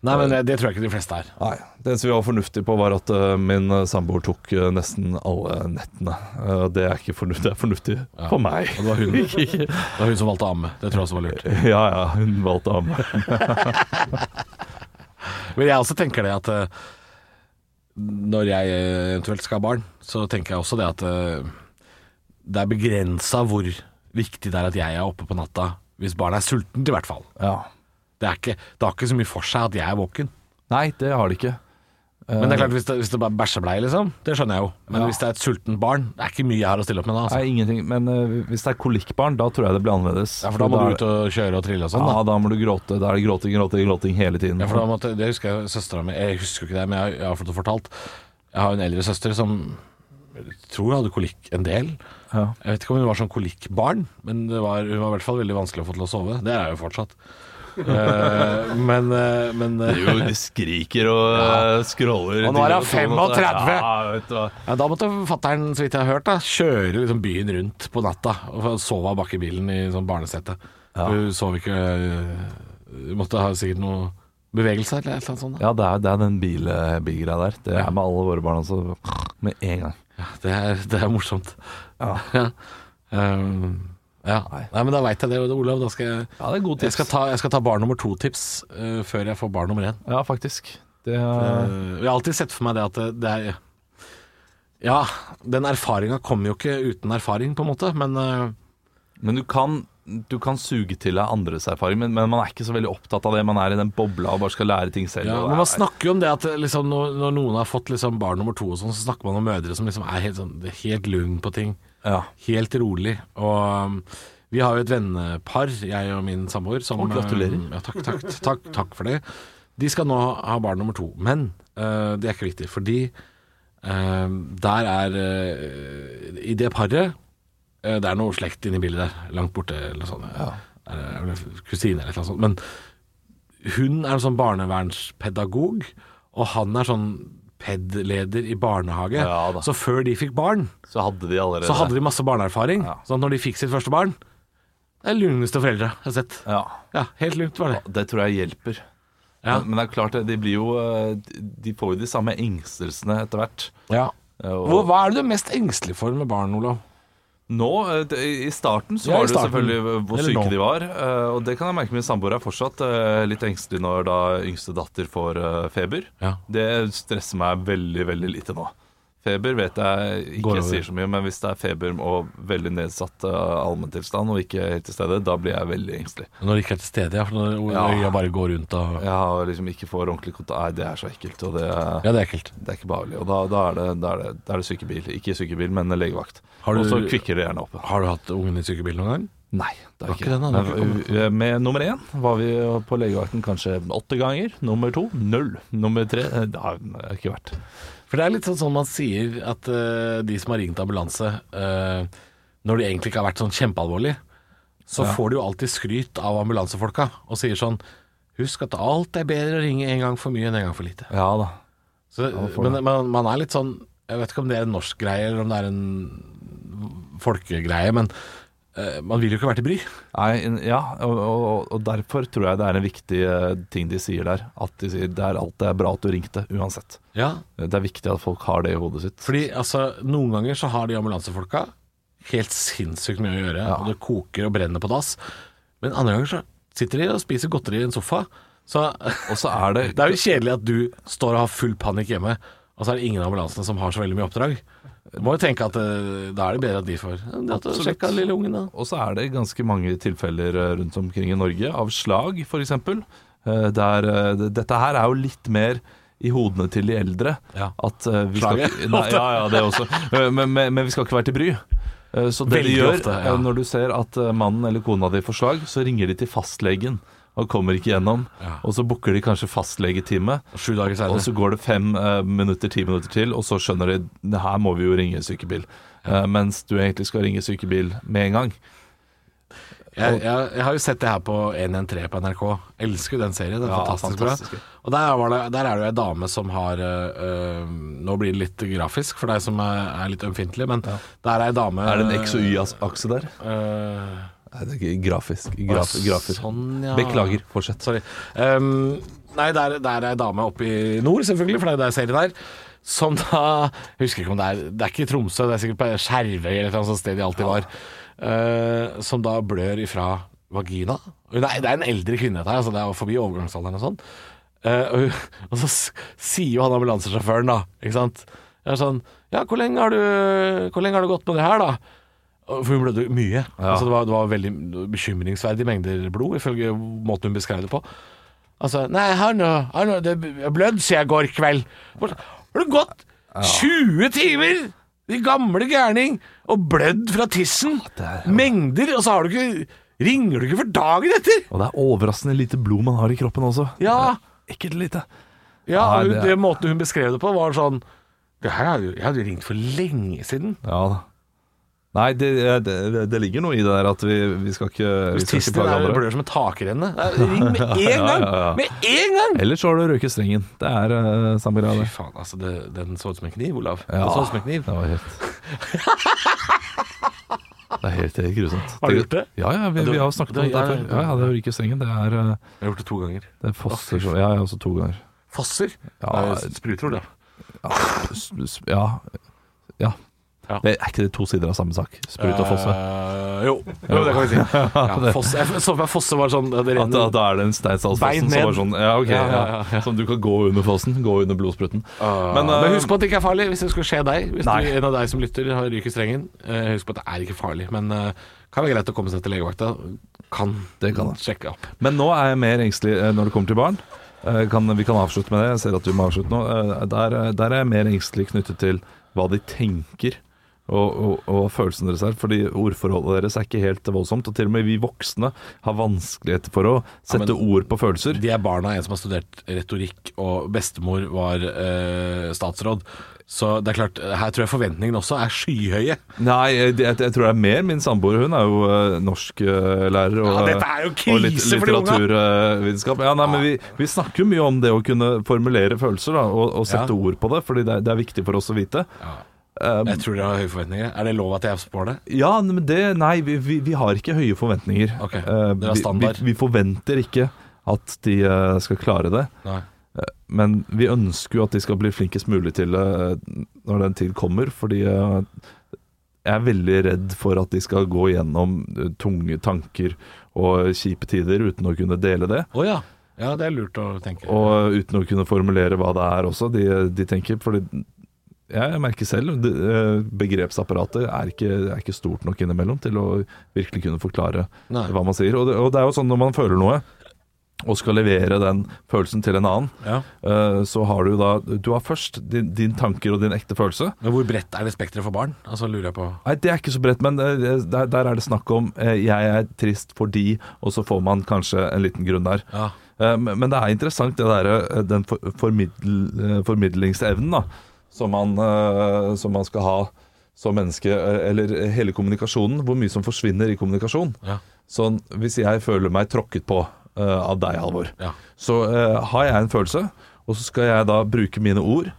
C: Nei, men det, det tror jeg ikke de fleste er.
A: Nei, Det eneste vi var fornuftige på, var at øh, min øh, samboer tok øh, nesten alle nettene. Eh, det er ikke fornuftig, det er fornuftig for meg.
C: Og det var hun,
A: (laughs)
C: det var hun som valgte å amme. Det tror jeg også var lurt.
A: Ja ja, hun valgte ham.
C: Men jeg også tenker det at eh, når jeg eh, eventuelt skal ha barn, så tenker jeg også det at eh, det er begrensa hvor viktig det er at jeg er oppe på natta hvis barnet er sultent, i hvert fall.
A: Ja.
C: Det, er ikke, det har ikke så mye for seg at jeg er våken.
A: Nei, det har de ikke.
C: Men det er klart hvis det, hvis det bare er bæsjebleie, liksom, det skjønner jeg jo. Men
A: Ja.
C: hvis det er et sultent barn, det er ikke mye jeg har å stille opp med da. Altså.
A: Nei, ingenting. Men eh, hvis det er kolikkbarn, da tror jeg det blir annerledes.
C: Ja, for da må
A: er-
C: du ut og kjøre og trille og sånn.
A: Ja,
C: Da.
A: da må du gråte. Da er det gråting, gråting, gråting hele tiden.
C: Ja, for da måtte, det husker jeg søstera mi Jeg husker jo ikke det, men jeg, jeg har fått det fortalt. Jeg har en eldre søster som jeg tror hun hadde kolikk en del.
A: Ja.
C: Jeg vet ikke om hun var sånn kolikkbarn, men det var, hun var i hvert fall veldig vanskelig å få til å sove. Det er hun fortsatt. Eh, men eh, men eh,
A: Jo, de skriker og eh, skråler.
C: Og nå er han
A: til og med
C: 35.
A: Ja, vet du hva.
C: ja, da måtte fatter'n, så vidt jeg har hørt, da kjøre liksom byen rundt på natta og sove bak i bilen i sånn barnesete. Hun sov ikke eh, Hun måtte ha sikkert noe bevegelse eller et eller annet sånt. da.
A: ja det, er, det er den bil- eh, bilgreia der. Det
C: Ja.
A: er med alle våre barn også. Med en gang.
C: Det er, det er morsomt.
A: Ja.
C: (laughs) Um, ja. Nei. men da veit jeg det, Olav. Da skal jeg,
A: Ja, det er god
C: jeg, skal ta, jeg skal ta barn nummer to-tips eh, før jeg får barn nummer én.
A: Ja, faktisk. Det
C: Eh,
A: er,
C: Jeg har alltid sett for meg det at det- det er Ja, den erfaringa kommer jo ikke uten erfaring, på en måte, men eh,
A: men du kan, du kan suge til deg andres erfaring, men, men man er ikke så veldig opptatt av det. Man er i den bobla og bare skal lære ting selv.
C: ja,
A: og det
C: men man
A: er-
C: snakker jo om det at eh, liksom, når, når noen har fått liksom, barn nummer to, og sånn, så snakker man om mødre som liksom er helt, sånn, helt lugn på ting.
A: ja.
C: Helt rolig. Og um, vi har jo et vennepar, jeg og min samboer, som
A: Å, gratulerer.
C: um, Ja, takk, takk, takk, takk for det. De skal nå ha barn nummer to, men uh, det er ikke viktig, fordi uh, der er uh, I det paret uh, Det er noe slekt inni bildet der, langt borte eller noe sånt. Er det- er det Kusine eller noe sånt. Men hun er en sånn barnevernspedagog, og han er sånn PED-leder i barnehage.
A: Ja da.
C: så før de fikk barn,
A: Så hadde de allerede
C: så hadde de masse barneerfaring.
A: Ja.
C: Sånn at når de fikk sitt første barn Det er lugneste foreldre jeg har sett.
A: Ja.
C: Ja, helt lunt var det.
A: Det tror jeg hjelper.
C: Ja.
A: Men, men det er klart, de blir jo eh, De får jo de samme engstelsene etter hvert. Eh, Og-
C: Hvor, hva er det du er mest engstelig for med barn, Olav?
A: Nå, eh, d- i starten så
C: Ja, i
A: var det jo
C: starten.
A: selvfølgelig eh, hvor
C: Eller
A: syke
C: nå.
A: de var. eh, Og det kan jeg merke min samboer er fortsatt eh, litt engstelig når da yngste datter får eh, feber.
C: Ja.
A: Det stresser meg veldig, veldig lite nå. Feber vet jeg
C: Går
A: ikke
C: over.
A: sier så mye, men hvis det er feber og veldig nedsatt eh, allmenntilstand og ikke helt til stede, da blir jeg veldig engstelig.
C: Når de ikke er til stede, ja. For når
A: Ja.
C: øya bare går rundt og
A: Jeg har liksom ikke får ordentlig kontakt Nei, det er så ekkelt, og det,
C: Ja, det er ekkelt.
A: det er ikke behagelig. Og da, da, er det, da, er det, da er det sykebil. Ikke sykebil, men legevakt.
C: Har du-
A: Og så kvikker det gjerne opp.
C: Har du hatt ungen i sykebil noen gang?
A: Nei, det er
C: Var
A: ikke
C: ikke
A: det.
C: den, da? Den
A: Nei, vi- Med nummer én var vi på legevakten kanskje åtte ganger. Nummer to null. Nummer tre eh, det har jeg ikke vært.
C: For det er litt sånn som man sier at eh, de som har ringt ambulanse, eh, når de egentlig ikke har vært sånn kjempealvorlig, så får de jo alltid skryt av ambulansefolka og sier sånn Husk at alt er bedre å ringe en gang for mye enn en gang for lite.
A: Ja da.
C: Så,
A: man får
C: men
A: det.
C: man, man er litt sånn Jeg vet ikke om det er en norsk greie eller om det er en folkegreie, men eh, man vil jo ikke være til bry.
A: Nei, en- ja, og, og, og derfor tror jeg det er en viktig eh, ting de sier der. At de sier det er alt det er bra at du ringte, uansett. Det er viktig at folk har det i hodet sitt.
C: Fordi altså, noen ganger så har de ambulansefolka helt sinnssykt mye å gjøre, og det koker og brenner på dass. Men andre ganger så sitter de og spiser godteri i en sofa. Så
A: Og så er det
C: (laughs) det er jo kjedelig at du står og har full panikk hjemme, og så er det ingen av ambulansene som har så veldig mye oppdrag. Du må jo tenke at eh, da er det bedre at de får ja, det at du
A: Absolutt.
C: sjekka lille ungen, da.
A: Og så er det ganske mange tilfeller eh, rundt omkring i Norge av slag, f.eks. Der eh, det- Dette her er jo litt mer i hodene til de eldre.
C: Ja.
A: At eh, vi skal
C: Slaget,
A: ikke, nei, ja, ja, det også. Eh, Men, men, men vi skal ikke være til bry. Eh, Så det de
C: Veldig
A: gjør,
C: ofte, ja.
A: eh, når du ser at eh, mannen eller kona di får slag, så ringer de til fastlegen og kommer ikke gjennom. Og så booker de kanskje fastlegetime.
C: Sju dager
A: Og
C: senere.
A: så går det fem eh, minutter, ti minutter til, og så skjønner de "Det her må vi jo ringe sykebil. Eh, mens du egentlig skal ringe sykebil med en gang.
C: Jeg, jeg, jeg har jo sett det her på 113 på NRK. Elsker jo den serien. Den er
A: Ja,
C: fantastisk
A: fantastisk.
C: bra. Og der, var det, der er det jo ei dame som har øh, øh, Nå blir det litt grafisk for deg som er, er litt ømfintlig, men der er ei dame
A: Er det en X- og Y-akse der? sånn,
C: øh,
A: Nei, det er ikke grafisk.
C: Graf- grafer. Beklager,
A: fortsett.
C: Sorry. Um, nei, der, der er ei dame oppe i nord, selvfølgelig, for det er jo der serien er. Som da Jeg husker ikke om det er Det er ikke i Tromsø, det er sikkert på Skjervøy eller et eller annet sted de alltid var. Uh, som da blør ifra vagina. Hun er, det er en eldre kvinne, dette her, altså det er jo forbi overgangsalderen og sånn. Eh, og, hun- og så s- sier jo han ambulansesjåføren, da, ikke sant Jeg er sånn Ja, hvor lenge har du, hvor lenge har du gått med det her, da? Og- For hun blødde mye. Altså, det, var, det var veldig bekymringsverdige mengder blod, ifølge måten hun beskrev det på. Altså, nei, han har han har- det har blødd siden i går kveld. Bare så, Har det gått 20 timer? De gamle gærning. Og blødd fra tissen. Mengder. Og så har du ikke Ringer du ikke for dagen etter?
A: Og det er overraskende lite blod man har i kroppen også.
C: Ja.
A: Ekkelt lite.
C: Ja,
A: Nei,
C: og hun,
A: det er-
C: det måten hun beskrev det på var sånn det her hadde, jo- Jeg hadde jo ringt for lenge siden.
A: Ja da. Nei, det, det, det ligger noe i det der at vi, vi skal ikke, vi
C: Hvis
A: skal ikke
C: tissen
A: plage
C: er
A: andre.
C: blør som en
A: (laughs)
C: takrenne. Nei, Ring med en gang!
A: ja, ja.
C: Med en gang!
A: Ellers så har du røket strengen. Det er eh, samme greia,
C: Fy
A: det.
C: faen, altså. Det, den så ut som en kniv, Olav.
A: Ja.
C: Den så ut som en kniv.
A: Det sånn var helt Det er helt, helt grusomt.
C: Har du gjort det?
A: Ja, ja, vi,
C: du-
A: vi har jo snakket om
C: du-
A: det der
C: ja,
A: før.
C: ja.
A: Ja, ja, det å ryke strengen, det er eh,
C: Jeg har gjort det to ganger.
A: Det fosser så Ja, jeg også to ganger.
C: Fosser?
A: Ja,
C: Nei, Spruter, Olav.
A: S- s- Ja. ja.
C: Ja.
A: Det er ikke de to sider av samme sak? Sprut og fosse.
C: Eh, jo. jo, det kan vi
A: (laughs)
C: si. Ja, fosse. Jeg så for meg fosse var sånn det
A: At da,
C: renner.
A: da er det en
C: Bein
A: Steinsdalsfossen
C: ned.
A: som er sånn ja, ok, ja,
C: Ja, ja,
A: Som du kan gå under fossen. Gå under blodspruten.
C: Ah. Men,
A: Men, eh,
C: husk på at det ikke er farlig hvis det skulle skje deg. Hvis
A: Nei.
C: du, en av deg som lytter har ryker strengen, eh, husk på at det er ikke farlig. Men eh, kan være greit å komme seg til legevakta. Kan,
A: Det kan det.
C: sjekke opp.
A: Men nå er jeg mer engstelig eh, når det kommer til barn. Eh, Kan, vi kan avslutte med det. Jeg ser at du må avslutte nå. Eh, Der, eh, der er jeg mer engstelig knyttet til hva de tenker. Og, og, og følelsen deres her, fordi ordforholdet deres er ikke helt voldsomt. Og til og med vi voksne har vanskeligheter for å sette ord på følelser.
C: De er barna av en som har studert retorikk, og bestemor var eh, statsråd. Så det er klart, eh, her tror jeg forventningene også er skyhøye.
A: Nei, jeg, jeg, jeg tror det er mer min samboer. Hun er jo eh, norsklærer og, eh,
C: Ja, dette er jo krise
A: og litt,
C: for de unga.
A: litteraturvitenskap. Ja, nei, men vi, vi snakker jo mye om det å kunne formulere følelser da, og, og sette
C: Ja.
A: ord på det, fordi det er, det er viktig for oss å vite. Um,
C: Jeg tror dere har høye forventninger. Er det lov at jeg spår det?
A: ja, nei, men det Nei, vi, vi, vi har ikke høye forventninger.
C: Ok,
A: Eh,
C: det er
A: vi, vi,
C: standard.
A: vi forventer ikke at de eh, skal klare det,
C: Nei.
A: men vi ønsker jo at de skal bli flinkest mulig til det eh, når den tid kommer, fordi eh, jeg er veldig redd for at de skal gå gjennom eh, tunge tanker og kjipe tider uten å kunne dele det,
C: Å ja. Ja, det er lurt å tenke.
A: og uten å kunne formulere hva det er også de, de tenker. Fordi jeg merker selv det, eh, begrepsapparatet er ikke, er ikke stort nok innimellom til å virkelig kunne forklare
C: Nei.
A: hva man sier. Og det, og det er jo sånn når man føler noe og skal levere den følelsen til en annen,
C: Ja.
A: eh, så har du da Du har først din, din tanker og din ekte følelse.
C: Men hvor bredt er det spekteret for barn? Altså, lurer jeg på.
A: Nei, det er ikke så bredt, men eh, der, der er det snakk om eh, 'jeg er trist fordi', og så får man kanskje en liten grunn der.
C: Ja.
A: Eh, Men men det er interessant det der, eh, den for- formidl, eh, formidlingsevnen da, som man, eh, som man skal ha som menneske, eh, eller hele kommunikasjonen, hvor mye som forsvinner i kommunikasjon.
C: Ja.
A: Sånn, hvis jeg føler meg tråkket på eh, av deg, Halvor,
C: Ja.
A: så eh, har jeg en følelse, og så skal jeg da bruke mine ord,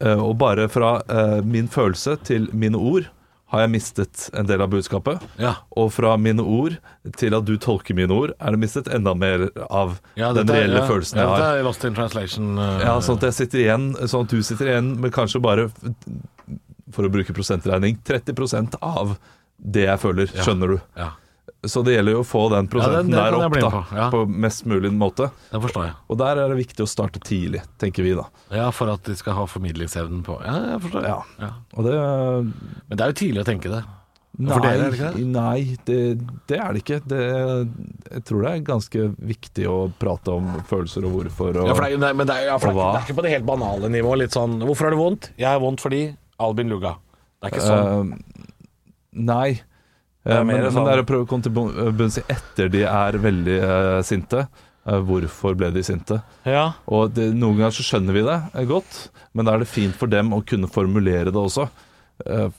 A: eh, og bare fra eh, min følelse til mine ord, har jeg mistet en del av budskapet.
C: Ja.
A: Og fra mine ord til at du tolker mine ord, er det mistet enda mer av
C: Ja,
A: den
C: dette er-
A: reelle
C: ja,
A: følelsen
C: ja,
A: jeg har.
C: Dette er lost in translation. eh,
A: Ja, sånn at jeg sitter igjen, sånn at du sitter igjen med kanskje bare, for å bruke prosentregning, 30 av det jeg føler, skjønner du.
C: ja.
A: Så det gjelder jo å få den prosenten
C: den- den
A: der
C: kan jeg
A: opp,
C: bli
A: da,
C: med på, ja.
A: på mest mulig måte.
C: Den forstår jeg.
A: Og der er det viktig å starte tidlig, tenker vi da.
C: Ja, For at de skal ha formidlingsevnen på Ja, jeg forstår.
A: Ja.
C: Ja.
A: Og det
C: Men det er jo tidlig å tenke det.
A: Nei,
C: For dere er det ikke det?
A: nei det, det er det ikke. Det, jeg tror det er ganske viktig å prate om følelser og hvorfor. Og,
C: Ja, for det, er- nei, men det, er, ja, for det, er,
A: Og hva?
C: ikke- det er ikke på det helt banale nivået. Litt sånn 'Hvorfor har du vondt?' 'Jeg har vondt fordi Albin lugga'. Det er ikke sånn.
A: Eh, nei.
C: er
A: Eh, men,
C: mer
A: men
C: sånn-
A: det er å prøve å komme til bun- bunns i etter de er veldig eh, sinte. Eh, hvorfor ble de sinte?
C: ja.
A: Og det, Noen ganger så skjønner vi det eh, godt, men da er det fint for dem å kunne formulere det også. Eh,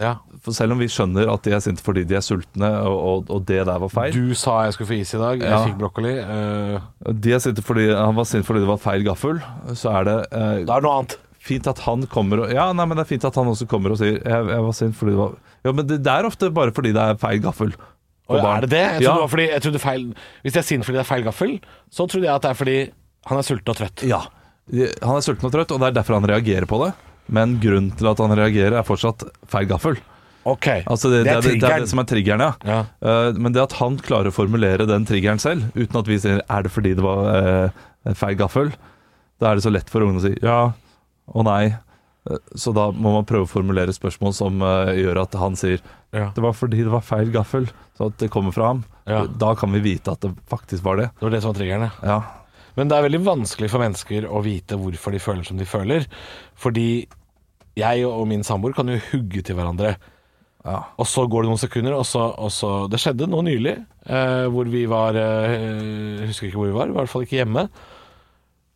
C: ja.
A: for selv om vi skjønner at de er sinte fordi de er sultne, og, og, og det der var feil
C: Du sa jeg skulle få is i dag, jeg
A: Ja.
C: fikk brokkoli. eh,
A: de er sinte fordi Han var sint fordi det var feil gaffel. Så er det eh,
C: da er det noe annet.
A: fint at han kommer og Ja, nei, men det er fint at han også kommer og sier Jeg, jeg var sint fordi det var Ja, men det, det er ofte bare fordi det er feil gaffel på
C: Og
A: barn.
C: er det det? Jeg trodde
A: ja.
C: det var fordi, jeg trodde feil, hvis jeg er sint fordi det er feil gaffel, så trodde jeg at det er fordi han er sulten og trøtt.
A: Ja. Han er sulten og trøtt, og det er derfor han reagerer på det. Men grunnen til at han reagerer, er fortsatt feil gaffel.
C: Ok,
A: Altså det, det, er, det, det er det som er triggeren, ja.
C: Ja.
A: Eh, men det at han klarer å formulere den triggeren selv, uten at vi sier 'er det fordi det var eh, feil gaffel', da er det så lett for ungene å si 'ja' og 'nei'. Eh, Så da må man prøve å formulere spørsmål som eh, gjør at han sier
C: Ja.
A: 'det var fordi det var feil gaffel', så at det kommer fra ham.
C: Ja.
A: Da kan vi vite at det faktisk var det.
C: Det var det som var triggeren, ja.
A: Ja.
C: Men det er veldig vanskelig for mennesker å vite hvorfor de føler som de føler. Fordi jeg og min samboer kan jo hugge til hverandre. Og så går det noen sekunder, og så, og så Det skjedde noe nylig eh, hvor vi var eh, Husker ikke hvor vi var, i hvert fall ikke hjemme.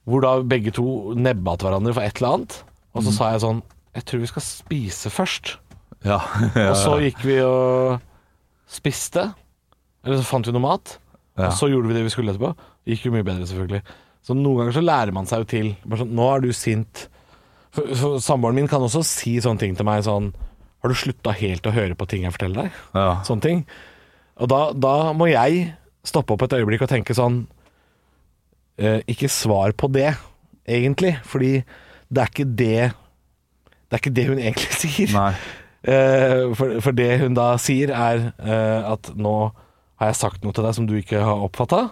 C: Hvor da begge to nebba til hverandre for et eller annet. Og så sa jeg sånn Jeg tror vi skal spise først.
A: Ja.
C: (laughs) Og så gikk vi og spiste. Eller så fant vi noe mat.
A: (laughs) Ja.
C: Og så gjorde vi det vi skulle etterpå. Det gikk jo mye bedre, selvfølgelig. Så noen ganger så lærer man seg jo til bare sånn, Nå er du sint. For, for Samboeren min kan også si sånne ting til meg sånn Har du slutta helt å høre på ting jeg forteller deg?
A: ja.
C: Sånne ting. Og da, da må jeg stoppe opp et øyeblikk og tenke sånn eh, Ikke svar på det, egentlig. Fordi det er ikke det Det er ikke det hun egentlig (laughs) sier.
A: Nei.
C: Eh, for, for det hun da sier er eh, at nå har jeg sagt noe til deg som du ikke har oppfatta,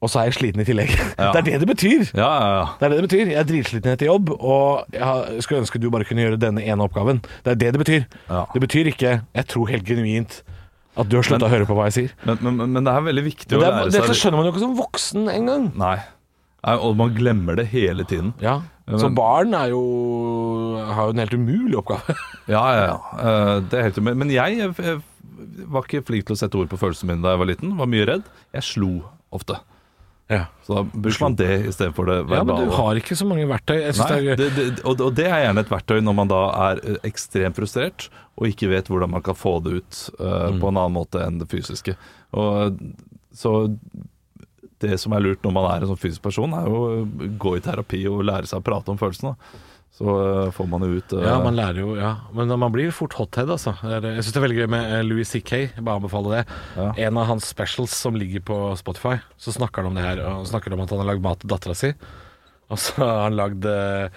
C: og så er jeg sliten i tillegg. (laughs)
A: Ja.
C: Det er det det betyr!
A: Ja, ja, ja.
C: Det er det det betyr. Jeg er dritsliten etter jobb, og jeg har- skulle ønske du bare kunne gjøre denne ene oppgaven. Det er det det betyr.
A: Ja.
C: Det betyr ikke 'jeg tror helt genuint at du har slutta å høre på hva jeg sier'.
A: Men, men, men det er veldig viktig
C: Men
A: å
C: det er,
A: lære
C: dette
A: seg
C: skjønner man jo ikke som voksen engang.
A: Nei. Nei, Og man glemmer det hele tiden.
C: Ja. Så
A: Men-
C: barn er jo, har jo en helt umulig oppgave.
A: Ja, ja, ja. Eh, Det er helt umulig. Men jeg, eh, eh, var ikke flink til å sette ord på følelsene mine da jeg var liten. Var mye redd. Jeg slo ofte.
C: Ja.
A: Så da bruker man det istedenfor det
C: ja, men
A: verbale.
C: du har ikke så mange verktøy. Jeg synes
A: Nei,
C: det er,
A: det, det, og, og det er gjerne et verktøy når man da er eh, ekstremt frustrert og ikke vet hvordan man kan få det ut eh,
C: Mm.
A: på en annen måte enn det fysiske. Og, eh, så det som er lurt når man er en sånn fysisk person, er jo å gå i terapi og lære seg å prate om følelsene. da. Så eh, får man det ut. eh,
C: Ja, man lærer jo, ja. Men man blir fort hothead, altså. Det er- Jeg syns det er veldig gøy med eh, Louis C.K. Jeg bare anbefaler det. En av hans specials som ligger på Spotify, så snakker han om det her. Og snakker om at han har lagd mat til dattera si. Og så har han lagd eh,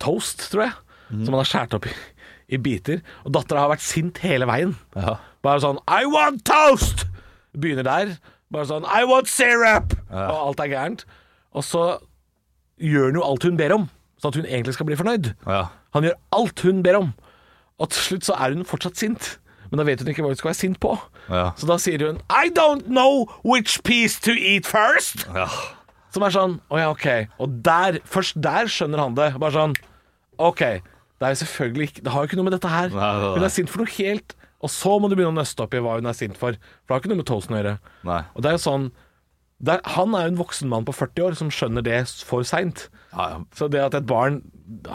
C: toast, tror jeg, som han har skåret opp i, i biter. Og dattera har vært sint hele veien.
A: Ja.
C: Bare sånn I want toast! Begynner der. Bare sånn I want syrup! Og alt er gærent. Og så gjør hun jo alt hun ber om, sånn at hun egentlig skal bli fornøyd.
A: Ja.
C: Han gjør alt hun ber om. Og til slutt så er hun fortsatt sint. Men da vet hun ikke hva hun skal være sint på.
A: Ja.
C: Så da sier hun I don't know which piece to eat first.
A: Ja.
C: Som er sånn Å ja, OK. Og der, først der skjønner han det. Bare sånn OK. Det er jo selvfølgelig ikke Det har jo ikke noe med dette her.
A: Nei, nei, nei.
C: Hun er sint for noe helt Og så må du begynne å nøste opp i hva hun er sint for. For det har ikke noe med toasten å gjøre.
A: Nei.
C: Og det er jo sånn det er, Han er jo en voksen mann på 40 år som skjønner det for seint.
A: Ja, ja.
C: Så det at et barn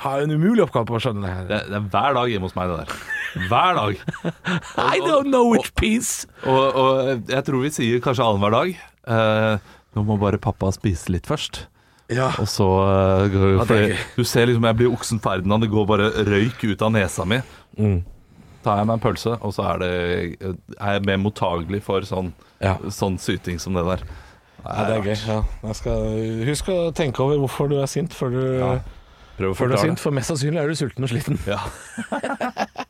C: har en umulig oppgave på å skjønne det her
A: Det, det er hver dag hjemme hos meg, det der. Hver dag.
C: I don't know which piece
A: Og, og jeg tror vi sier kanskje annenhver dag eh, Nå må bare pappa spise litt først.
C: Ja,
A: Og så eh, går
C: Ja, det er
A: fordi Du ser liksom jeg blir oksen Ferdinand, det går bare røyk ut av nesa mi. Tar jeg meg en pølse, og så er, det, eh, er jeg mer mottagelig for sånn,
C: Ja.
A: sånn syting som det der.
C: det er gøy ja. Jeg skal, Husk å tenke over hvorfor du er sint før du,
A: Prøv å
C: før du er
A: forklare.
C: sint For mest sannsynlig er du sulten og sliten
A: Ja.